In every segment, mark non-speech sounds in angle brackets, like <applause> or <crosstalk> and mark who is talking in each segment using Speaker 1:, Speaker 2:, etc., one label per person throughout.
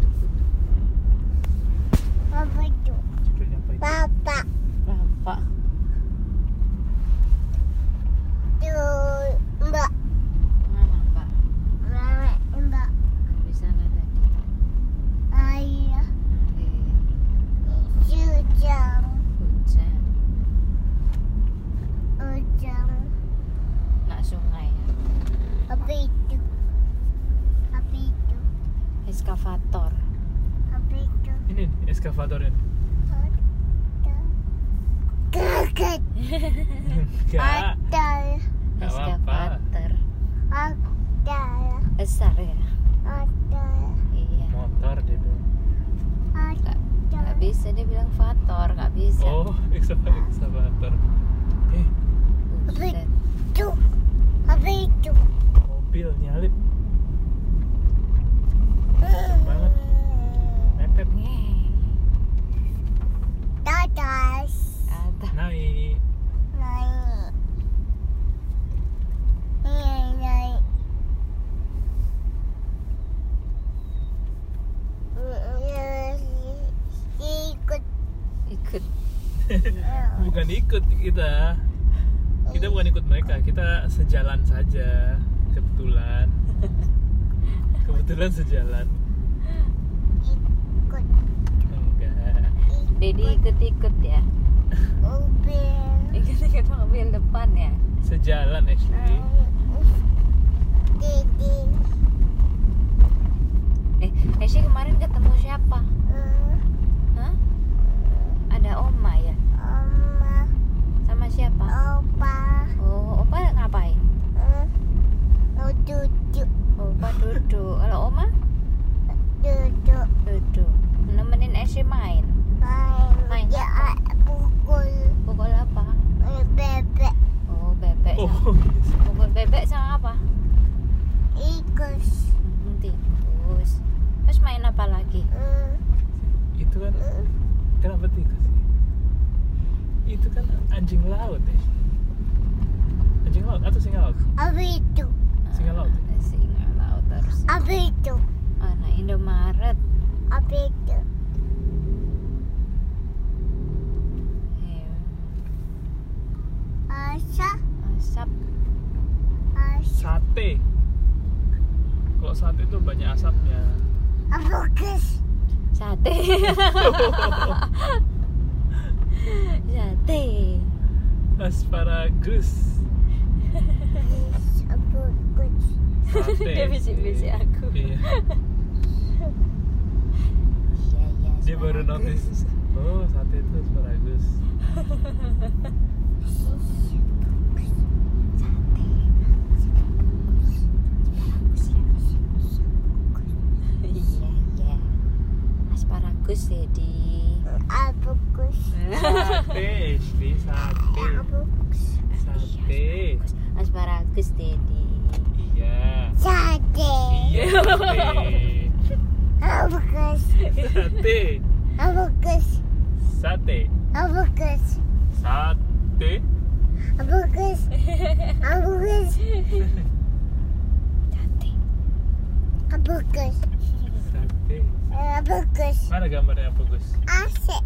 Speaker 1: Nah,
Speaker 2: motor
Speaker 3: Apa itu?
Speaker 1: Ini eskavatornya.
Speaker 3: Kakak
Speaker 1: Enggak.
Speaker 3: Adal
Speaker 1: Nggak apa-apa.
Speaker 2: eskavator
Speaker 3: Adal
Speaker 2: besar ya
Speaker 3: Adal
Speaker 2: iya
Speaker 1: Motor dia bilang.
Speaker 2: nggak
Speaker 3: Adal
Speaker 2: bisa dia bilang vator nggak bisa
Speaker 1: Oh, ekskava- ekskavator. Eh,
Speaker 2: Buset.
Speaker 3: Itu Apa itu?
Speaker 1: mobil nyalip Banget. mepet
Speaker 2: Ngeh.
Speaker 3: Dadas
Speaker 1: <laughs>
Speaker 2: Atas.
Speaker 1: naik.
Speaker 3: Naik Iya naik Ikut
Speaker 2: ikut
Speaker 1: Bukan ikut kita. Kita bukan ikut mereka, kita sejalan saja. Kebetulan.
Speaker 2: <laughs>
Speaker 1: Kebetulan sejalan.
Speaker 3: Ikut
Speaker 1: Enggak.
Speaker 2: Dedi ikut ikut ya
Speaker 3: Ubin
Speaker 2: ikut ikut mobil depan ya
Speaker 1: Sejalan actually.
Speaker 3: Didi
Speaker 2: eh Esy kemarin ketemu siapa Hah? ada Oma ya
Speaker 3: Oma
Speaker 2: sama siapa
Speaker 3: Opa
Speaker 2: oh Opa ngapain Oh,
Speaker 3: Mau duduk
Speaker 2: Opa duduk kalau Oma
Speaker 3: Duduk
Speaker 2: duduk nemenin Esy main Main
Speaker 3: Main Dia pukul eh,
Speaker 2: pukul apa
Speaker 3: Bebek
Speaker 2: oh bebek
Speaker 1: Oh,
Speaker 2: sama-
Speaker 1: yes.
Speaker 2: pukul bebek sama apa
Speaker 3: Ikus
Speaker 2: Hmm, tikus terus main apa lagi
Speaker 1: itu kan kenapa tikus sih? Itu kan anjing laut ya. Anjing laut atau singa laut?
Speaker 3: Apa itu?
Speaker 1: Singa laut. eh.
Speaker 2: Ah, singa laut harus
Speaker 3: Apa itu?
Speaker 2: mana Indomaret
Speaker 3: Apa itu?
Speaker 2: Iya.
Speaker 3: Asa
Speaker 2: asap
Speaker 3: Asa
Speaker 1: Sate. Kalau sate itu banyak asapnya.
Speaker 3: Abokas
Speaker 1: <laughs>
Speaker 2: sate sate
Speaker 1: Asparagus.
Speaker 3: Abokas
Speaker 1: Sate.
Speaker 2: Dia bisik-bisik aku.
Speaker 1: Iya.
Speaker 2: iya iya
Speaker 1: Dia baru
Speaker 2: asparagus.
Speaker 1: notice. Oh, sate itu asparagus.
Speaker 2: iya <laughs> iya asparagus ya, jadi
Speaker 3: Abokas
Speaker 1: Sate, Ashley, sate.
Speaker 3: Abokas
Speaker 1: Sate.
Speaker 2: asparagus jadi
Speaker 1: Iya.
Speaker 3: Sate
Speaker 1: Iya, sate.
Speaker 3: Abokas
Speaker 1: Sate.
Speaker 3: Abokas
Speaker 1: Sate.
Speaker 3: Abokas
Speaker 1: Sate.
Speaker 3: Abokas Abokas
Speaker 2: sate
Speaker 3: Abokas
Speaker 1: Sate.
Speaker 3: Abokas
Speaker 1: Mana gambarnya apa, Gus?
Speaker 3: Asa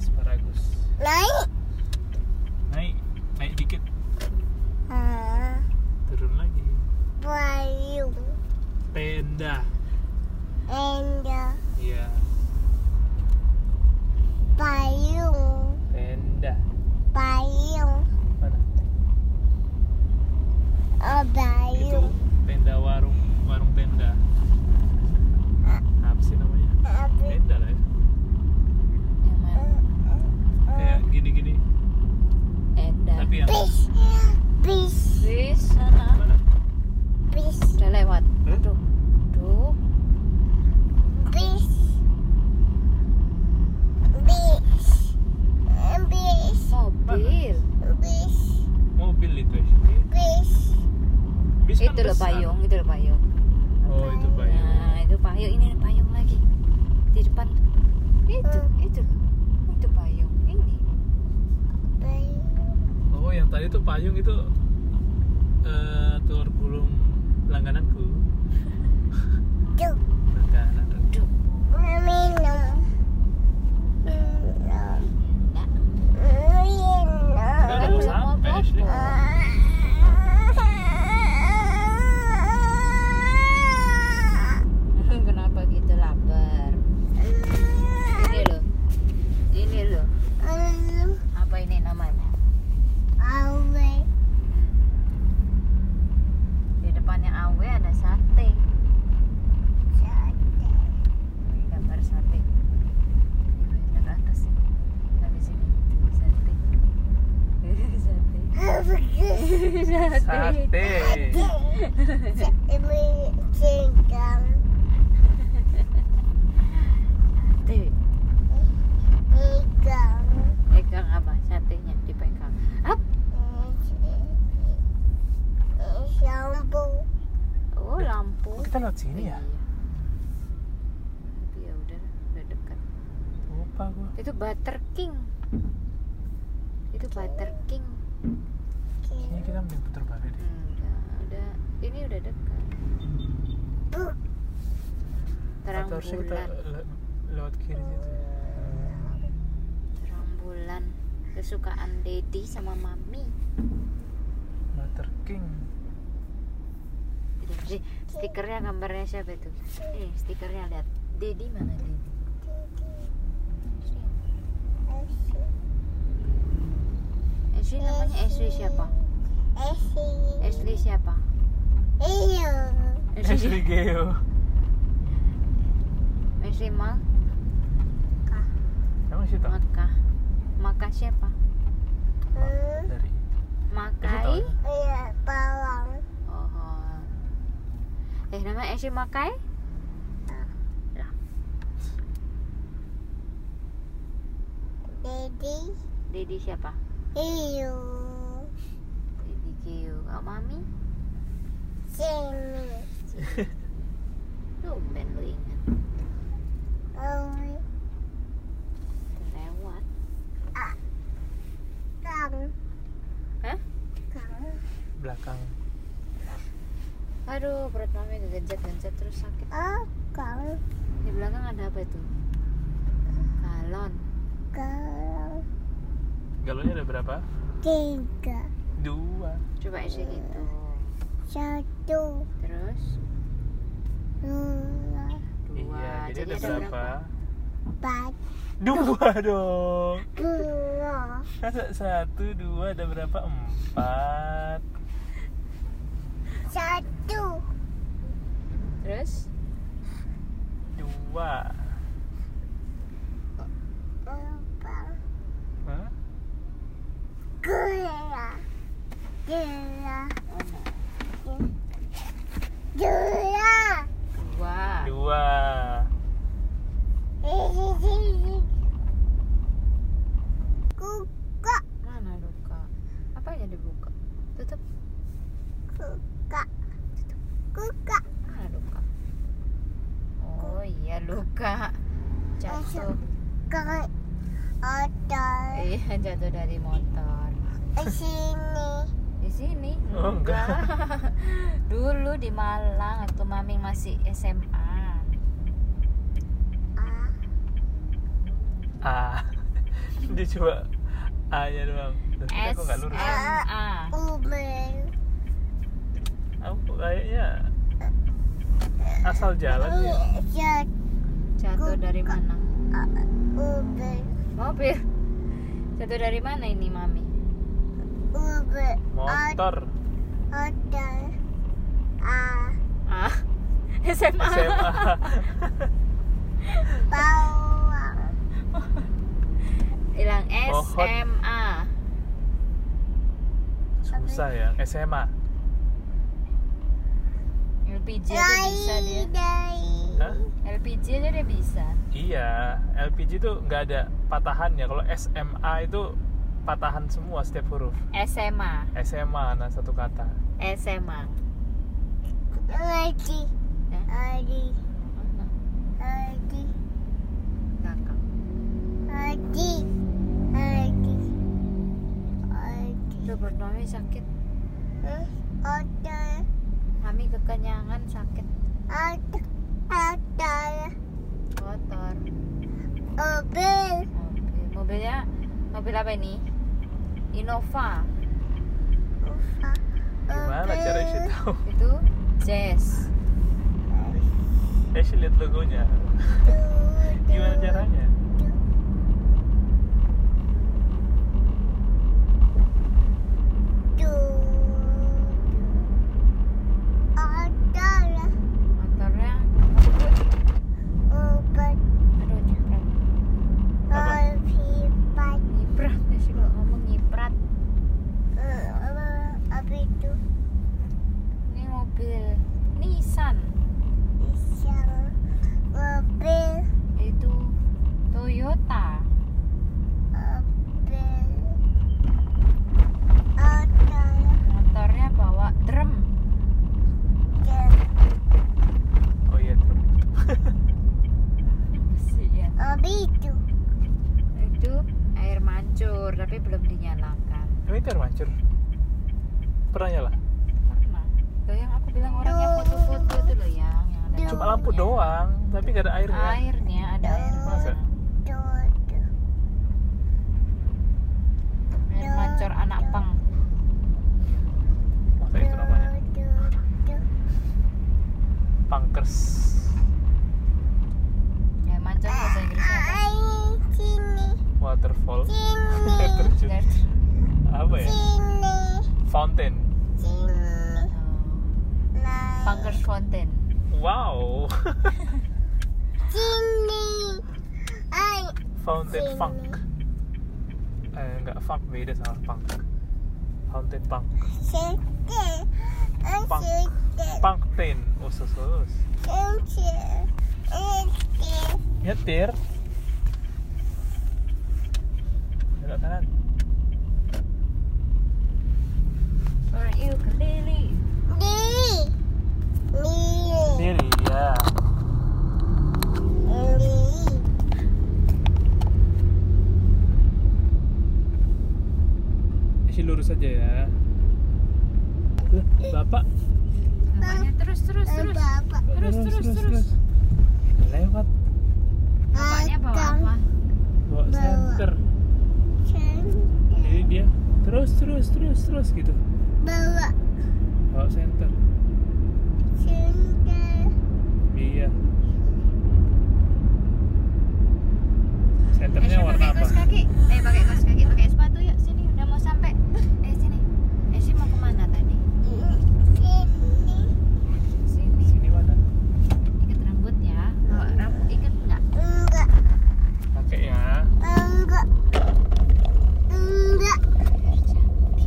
Speaker 1: Asparagus.
Speaker 3: Naik
Speaker 1: Naik, naik dikit,
Speaker 3: Ah,
Speaker 1: turun lagi.
Speaker 3: Bayu
Speaker 1: Tenda.
Speaker 3: And uh,
Speaker 1: Iya,
Speaker 3: Payung
Speaker 1: tenda.
Speaker 3: Payung
Speaker 1: Mana?
Speaker 3: Oh
Speaker 1: Itu
Speaker 3: Payung
Speaker 1: tenda warung, warung tenda. Apa sih namanya?
Speaker 3: Abokas
Speaker 1: Tenda lah ya.
Speaker 2: yang mana
Speaker 1: Kayak
Speaker 2: Eh.
Speaker 1: gini-gini.
Speaker 2: Eda
Speaker 1: Tapi yang
Speaker 3: Bis Bis
Speaker 2: bis sana
Speaker 1: mana?
Speaker 3: Bis
Speaker 2: udah lewat
Speaker 1: Hah?
Speaker 2: aduh aduh
Speaker 3: Bis Bis Bis
Speaker 2: mobil
Speaker 3: Bis
Speaker 1: Mobil itu Ashley.
Speaker 3: Bis
Speaker 1: Bis kan
Speaker 2: itu loh
Speaker 1: besar.
Speaker 2: payung itu loh payung
Speaker 1: Oh, itu payung.
Speaker 2: Nah, itu payung ini ada payung lagi di depan. Itu,
Speaker 3: Hmm.
Speaker 2: itu, itu payung ini.
Speaker 3: Payung
Speaker 1: Oh, yang tadi tuh payung itu eh telur gulung langgananku.
Speaker 3: Tuh
Speaker 1: Langganan.
Speaker 2: Duduk.
Speaker 3: Minum Minum Minum
Speaker 1: Kan mau sampai Ashley.
Speaker 2: Kenapa gitu lapar? Ini loh, ini loh. Apa ini namanya? Di depannya Awe ada sate.
Speaker 1: Sate.
Speaker 2: Tuh, pegang apa satenya dipegang. Up. Oh, lampu.
Speaker 1: Oh, kita lewat sini ya?
Speaker 2: Iya. Tapi ya udah, udah dekat.
Speaker 1: Lupa gua.
Speaker 2: Itu Butter King. Itu Butter King.
Speaker 1: Ini kita mending putar balik deh.
Speaker 2: Hmm, udah, udah. Ini udah dekat. Terang
Speaker 1: Atau harusnya kita
Speaker 2: bulan.
Speaker 1: le- lewat kiri situ.
Speaker 2: Terang bulan. Kesukaan Dedi sama Mami.
Speaker 1: Mother King.
Speaker 2: Tidak sih. Gitu. Eh, Stikernya gambarnya siapa itu? Eh, stikernya lihat. Dedi mana Dedi? Ashley namanya Ashley siapa? Ashley siapa?
Speaker 1: Ashley Geo.
Speaker 2: Ashley Mang
Speaker 1: Emang situ?
Speaker 2: Maka Maka siapa?
Speaker 1: Dari.
Speaker 2: Makai Oh Eh namanya Ashley Makai? Dedi siapa? Dedi Geo Kak Mami? Tuh ben lu ingat Lewat Hah?
Speaker 1: Belakang.
Speaker 2: Aduh perut Mami gencet-gencet terus sakit Di belakang ada apa itu? Galon
Speaker 1: Galonnya ada berapa?
Speaker 3: Tiga,
Speaker 1: Dua.
Speaker 2: Coba Ashley gitu
Speaker 3: satu,
Speaker 2: Terus
Speaker 3: dua,
Speaker 2: Dua
Speaker 1: Iya, jadi ada berapa?
Speaker 3: empat,
Speaker 1: Dua dong.
Speaker 3: dua,
Speaker 1: Masa satu, dua, ada berapa? Empat.
Speaker 3: satu,
Speaker 2: Terus?
Speaker 1: Dua.
Speaker 3: empat.
Speaker 1: Hah?
Speaker 3: Gula, gula,
Speaker 2: Oh, no.
Speaker 3: gula.
Speaker 2: Dua
Speaker 1: Dua.
Speaker 3: Kuka,
Speaker 2: Mana luka? Apa yang dibuka? Tutup
Speaker 3: kuka, kuka.
Speaker 2: Mana luka? Oh iya luka Jatuh
Speaker 3: Kau ada
Speaker 2: Iya jatuh dari motor
Speaker 3: di sini.
Speaker 2: Di sini?
Speaker 1: Oh, enggak.
Speaker 2: <laughs> Dulu di Malang Waktu Mami masih SMA
Speaker 3: Ah,
Speaker 1: A. <laughs> Dia coba A-nya doang. Loh, ini Aku nggak lurus.
Speaker 2: SMA
Speaker 3: Uber,
Speaker 1: Aku kayaknya asal jalan ya.
Speaker 3: jat,
Speaker 2: Jatuh dari mana?
Speaker 3: Uber,
Speaker 2: Mobil Jatuh dari mana ini Mami?
Speaker 3: Uber.
Speaker 1: Motor.
Speaker 3: Ada, ah,
Speaker 2: Ah <laughs> SMA, <laughs>
Speaker 1: SMA.
Speaker 3: bawang.
Speaker 2: Hilang
Speaker 1: Oh, hot.
Speaker 2: SMA
Speaker 1: Susah ya. SMA.
Speaker 2: LPG aja bisa dia
Speaker 3: Dari, dari.
Speaker 1: Hah?
Speaker 2: LPG aja dia bisa
Speaker 1: Iya, LPG itu nggak ada patahannya. Kalau SMA itu patahan semua setiap huruf.
Speaker 2: SMA
Speaker 1: SMA, nah satu kata.
Speaker 2: SMA
Speaker 3: Lagi,
Speaker 2: Ya?
Speaker 3: lagi, lagi,
Speaker 2: Kakak
Speaker 3: lagi, lagi, lagi.
Speaker 2: Tuh perut mami sakit
Speaker 3: Eh, Ada,
Speaker 2: Mami kekenyangan sakit
Speaker 3: ada, ada
Speaker 2: Kotor
Speaker 3: mobil,
Speaker 2: Mobil Mobilnya Mobil apa ini? Innova
Speaker 3: Ufa,
Speaker 1: Gimana
Speaker 3: mobil.
Speaker 1: cara Esy tahu? <laughs>
Speaker 2: Itu Jazz
Speaker 1: Esy lihat logonya.
Speaker 3: Du-
Speaker 1: Gimana
Speaker 3: du-
Speaker 1: caranya?
Speaker 3: du- Ada lah,
Speaker 2: Motornya
Speaker 3: obat,
Speaker 2: Aduh nyiprat
Speaker 1: Apa?
Speaker 3: obat,
Speaker 2: Nyiprat Ya sih kalau ngomong nyiprat
Speaker 3: eh, apa apa itu?
Speaker 1: Oh iya,
Speaker 2: ya. mancur tapi belum dinyalakan
Speaker 1: Ini itu air mancur. Pernah nyala?
Speaker 2: pernah loh yang aku bilang orangnya foto-foto itu loh yang yang ada
Speaker 1: Cuma
Speaker 2: lampunya.
Speaker 1: lampu doang, tapi gak ada airnya.
Speaker 2: airnya ada
Speaker 1: Masa?
Speaker 2: airnya air mancur anak pang
Speaker 1: Masa itu namanya? Pangkers.
Speaker 2: air Ya, mancur bahasa Inggrisnya apa
Speaker 3: sini,
Speaker 1: Waterfall.
Speaker 3: sini,
Speaker 1: Air terjun.
Speaker 2: Dirt.
Speaker 1: Apa ya?
Speaker 3: sini,
Speaker 1: Fountain.
Speaker 3: sini.
Speaker 2: Oh, Pankers Fountain
Speaker 1: Wow.
Speaker 3: Sini. Ay,
Speaker 1: Fountain
Speaker 3: Sini.
Speaker 1: funk. Eh, enggak funk beda sama punk. Fountain punk.
Speaker 3: sini. Ay,
Speaker 1: Pang-
Speaker 3: sini.
Speaker 1: Punktain. Usus usus.
Speaker 3: Sini. Ay, sini.
Speaker 1: Nyetir. Belok kanan.
Speaker 2: for you ukulele
Speaker 3: Di. Di.
Speaker 1: Kiri ya.
Speaker 3: Di.
Speaker 1: Isi lurus aja ya. Eh, Bapak.
Speaker 2: Bapaknya terus terus
Speaker 3: Ay,
Speaker 2: terus
Speaker 3: Papa.
Speaker 2: Terus, terus, terus.
Speaker 1: Lewat
Speaker 2: bapaknya bawa apa
Speaker 1: bawa
Speaker 3: Bawa.
Speaker 1: senter. Jadi dia terus terus terus terus gitu.
Speaker 3: Bawa
Speaker 1: Bawa senter.
Speaker 3: sini.
Speaker 1: Iya.
Speaker 2: Eh,
Speaker 1: Senternya
Speaker 2: sini
Speaker 1: warna
Speaker 2: pakai
Speaker 1: apa?
Speaker 2: kaos kaki. Eh, pakai kaos kaki, pakai sepatu yuk. Sini, udah mau sampai. Eh, sini. Eh, sini mau kemana tadi?
Speaker 3: Sini.
Speaker 2: Sini.
Speaker 1: Sini mana?
Speaker 2: Ikat rambut ya. Bawa rambut ikat nggak?
Speaker 3: Enggak.
Speaker 1: Pakai ya.
Speaker 3: Enggak. Enggak.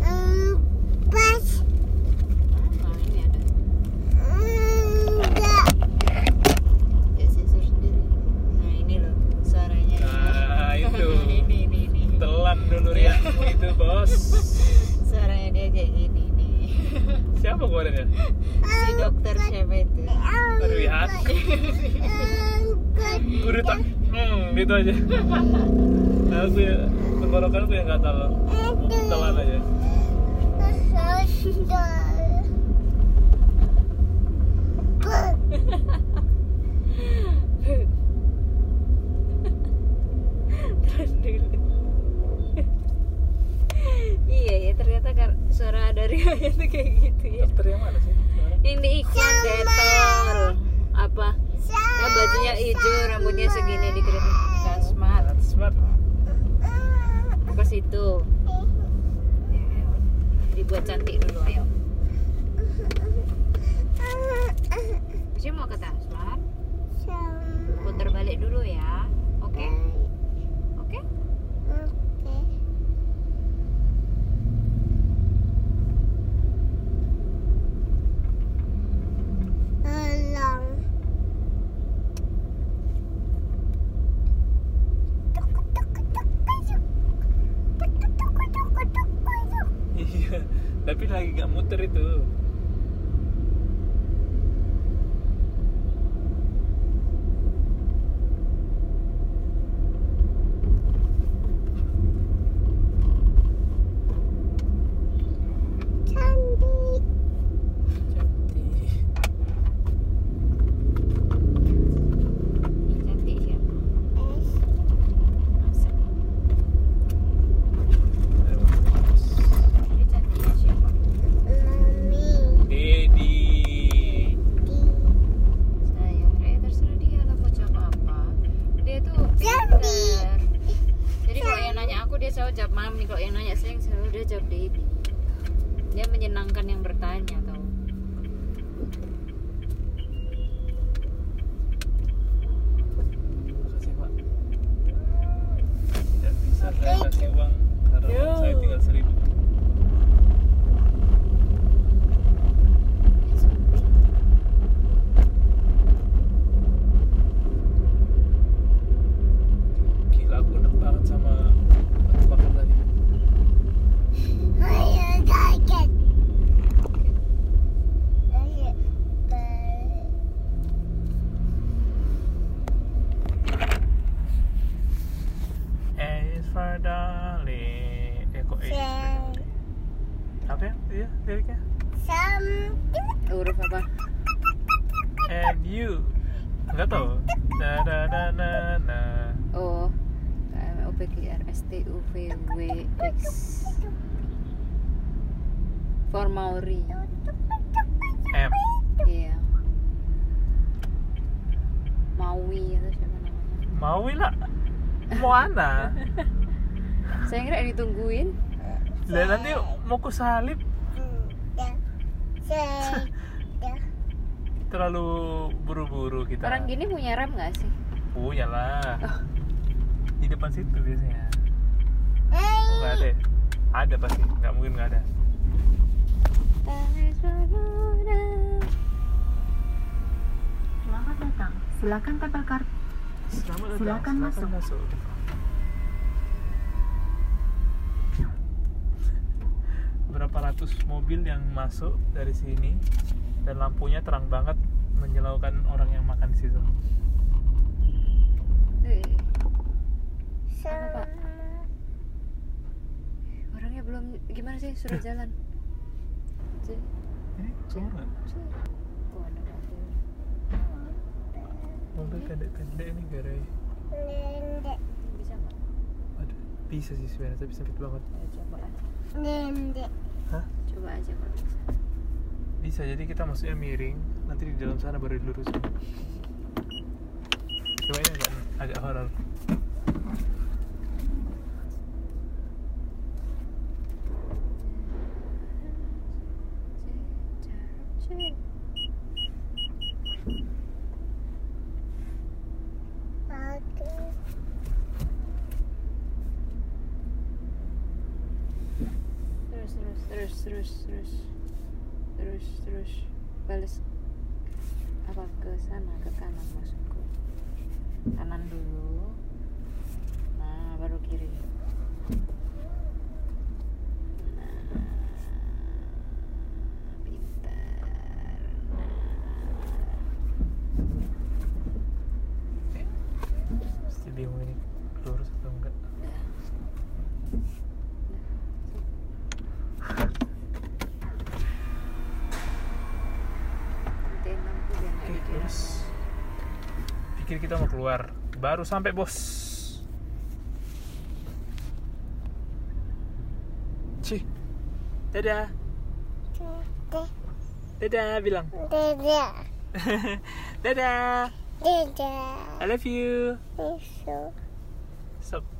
Speaker 3: Empat.
Speaker 2: Mana ini ada?
Speaker 3: Enggak.
Speaker 2: Ya, sensor sendiri. Nah, ini loh suaranya.
Speaker 1: Nah, itu.
Speaker 2: ini, ini, ini.
Speaker 1: Telan dulu riakmu itu bos.
Speaker 2: Suaranya dia kayak gini nih.
Speaker 1: Siapa keluarinnya?
Speaker 2: Si dokter siapa itu?
Speaker 1: Rian.
Speaker 3: Enggak.
Speaker 1: Guru tak. Hmm, gitu aja. Nah, aku ya, tenggorokan aku yang nggak tahu. Mungkin telan aja.
Speaker 2: Terus dulu. iya ya ternyata kar- suara dari ayah tuh kayak gitu ya.
Speaker 1: Dokter yang mana sih?
Speaker 2: Ini iklan
Speaker 3: Sama.
Speaker 2: detol. Apa? Ya bajunya hijau, rambutnya segini dikeriting. Kan smart.
Speaker 1: Smart, smart.
Speaker 2: Ke situ. Ya, ayo. Dibuat cantik dulu ayo. Sih mau ke Tasman? Putar balik dulu ya. Oke? Oke?
Speaker 1: Iya. Tapi lagi nggak muter itu.
Speaker 3: Cantik.
Speaker 2: Cantik siapa? Masa? Dia cantiknya siapa?
Speaker 3: Mami.
Speaker 1: Dedi.
Speaker 2: Sayang, Raya ya, terserah dia lah mau jawab apa. Dia tuh
Speaker 3: Jadi.
Speaker 2: pinter. Jadi kalau yang nanya aku dia selalu jawab mami. Kalau yang nanya sayang selalu dia jawab daddy. Dia menyenangkan yang bertanya tau.
Speaker 1: Makasih, Pak. Tidak bisa saya kasih uang karena uang saya tinggal seribu. Gila aku enak banget sama batu bakar tadi.
Speaker 3: Ayo, kaget.
Speaker 2: Kaget.
Speaker 3: eh,
Speaker 1: liriknya?
Speaker 3: Something.
Speaker 2: huruf apa
Speaker 1: And you Gak tau Na na na na na
Speaker 2: oh M O P Q R S T U V W X for Maori
Speaker 1: M
Speaker 2: iya Maui atau siapa namanya
Speaker 1: Maui lah Moana
Speaker 2: saya kira ditungguin
Speaker 1: Lah nanti mau ku salib
Speaker 3: Say.
Speaker 1: Terlalu buru-buru kita
Speaker 2: orang gini Oh. punya rem nggak sih
Speaker 1: Punya lah Di depan situ biasanya Oh nggak ada
Speaker 3: Hey.
Speaker 1: ya? Ada pasti, nggak mungkin nggak ada
Speaker 4: Selamat datang. Silakan tempel kartu.
Speaker 1: Selamat datang,
Speaker 4: Silakan masuk.
Speaker 1: masuk. Berapa ratus mobil yang masuk dari sini dan lampunya terang banget menyilaukan orang yang makan di situ.
Speaker 2: Eh,
Speaker 3: Some.
Speaker 2: orangnya belum gimana sih suruh jalan Jadi-
Speaker 1: Ini keluar nggak?
Speaker 2: Tuh, ada mobil.
Speaker 1: Mobil pendek-pendek ini garai.
Speaker 3: Linda.
Speaker 2: bisa nggak?
Speaker 1: Waduh, bisa sih sebenarnya tapi sempit banget.
Speaker 2: Ya, coba aja
Speaker 3: Linda.
Speaker 1: Hah?
Speaker 2: coba aja kalau bisa
Speaker 1: Bisa jadi kita masuknya miring, nanti di dalam sana baru dilurusin. Coba ini agak, agak horor.
Speaker 3: Okay.
Speaker 2: terus terus terus terus terus terus terus balas apa ke sana ke kanan maksudku kanan dulu nah baru kiri nah pintar
Speaker 1: Pasti bingung ini lurus atau enggak.
Speaker 2: Matiin lampu biar nggak
Speaker 1: Oke,
Speaker 2: dikira
Speaker 1: terus pikir kita mau keluar baru sampai bos cih dadah dadah bilang <laughs>
Speaker 3: Linda.
Speaker 1: dadah
Speaker 3: Linda.
Speaker 1: I love you
Speaker 3: Linda.
Speaker 1: so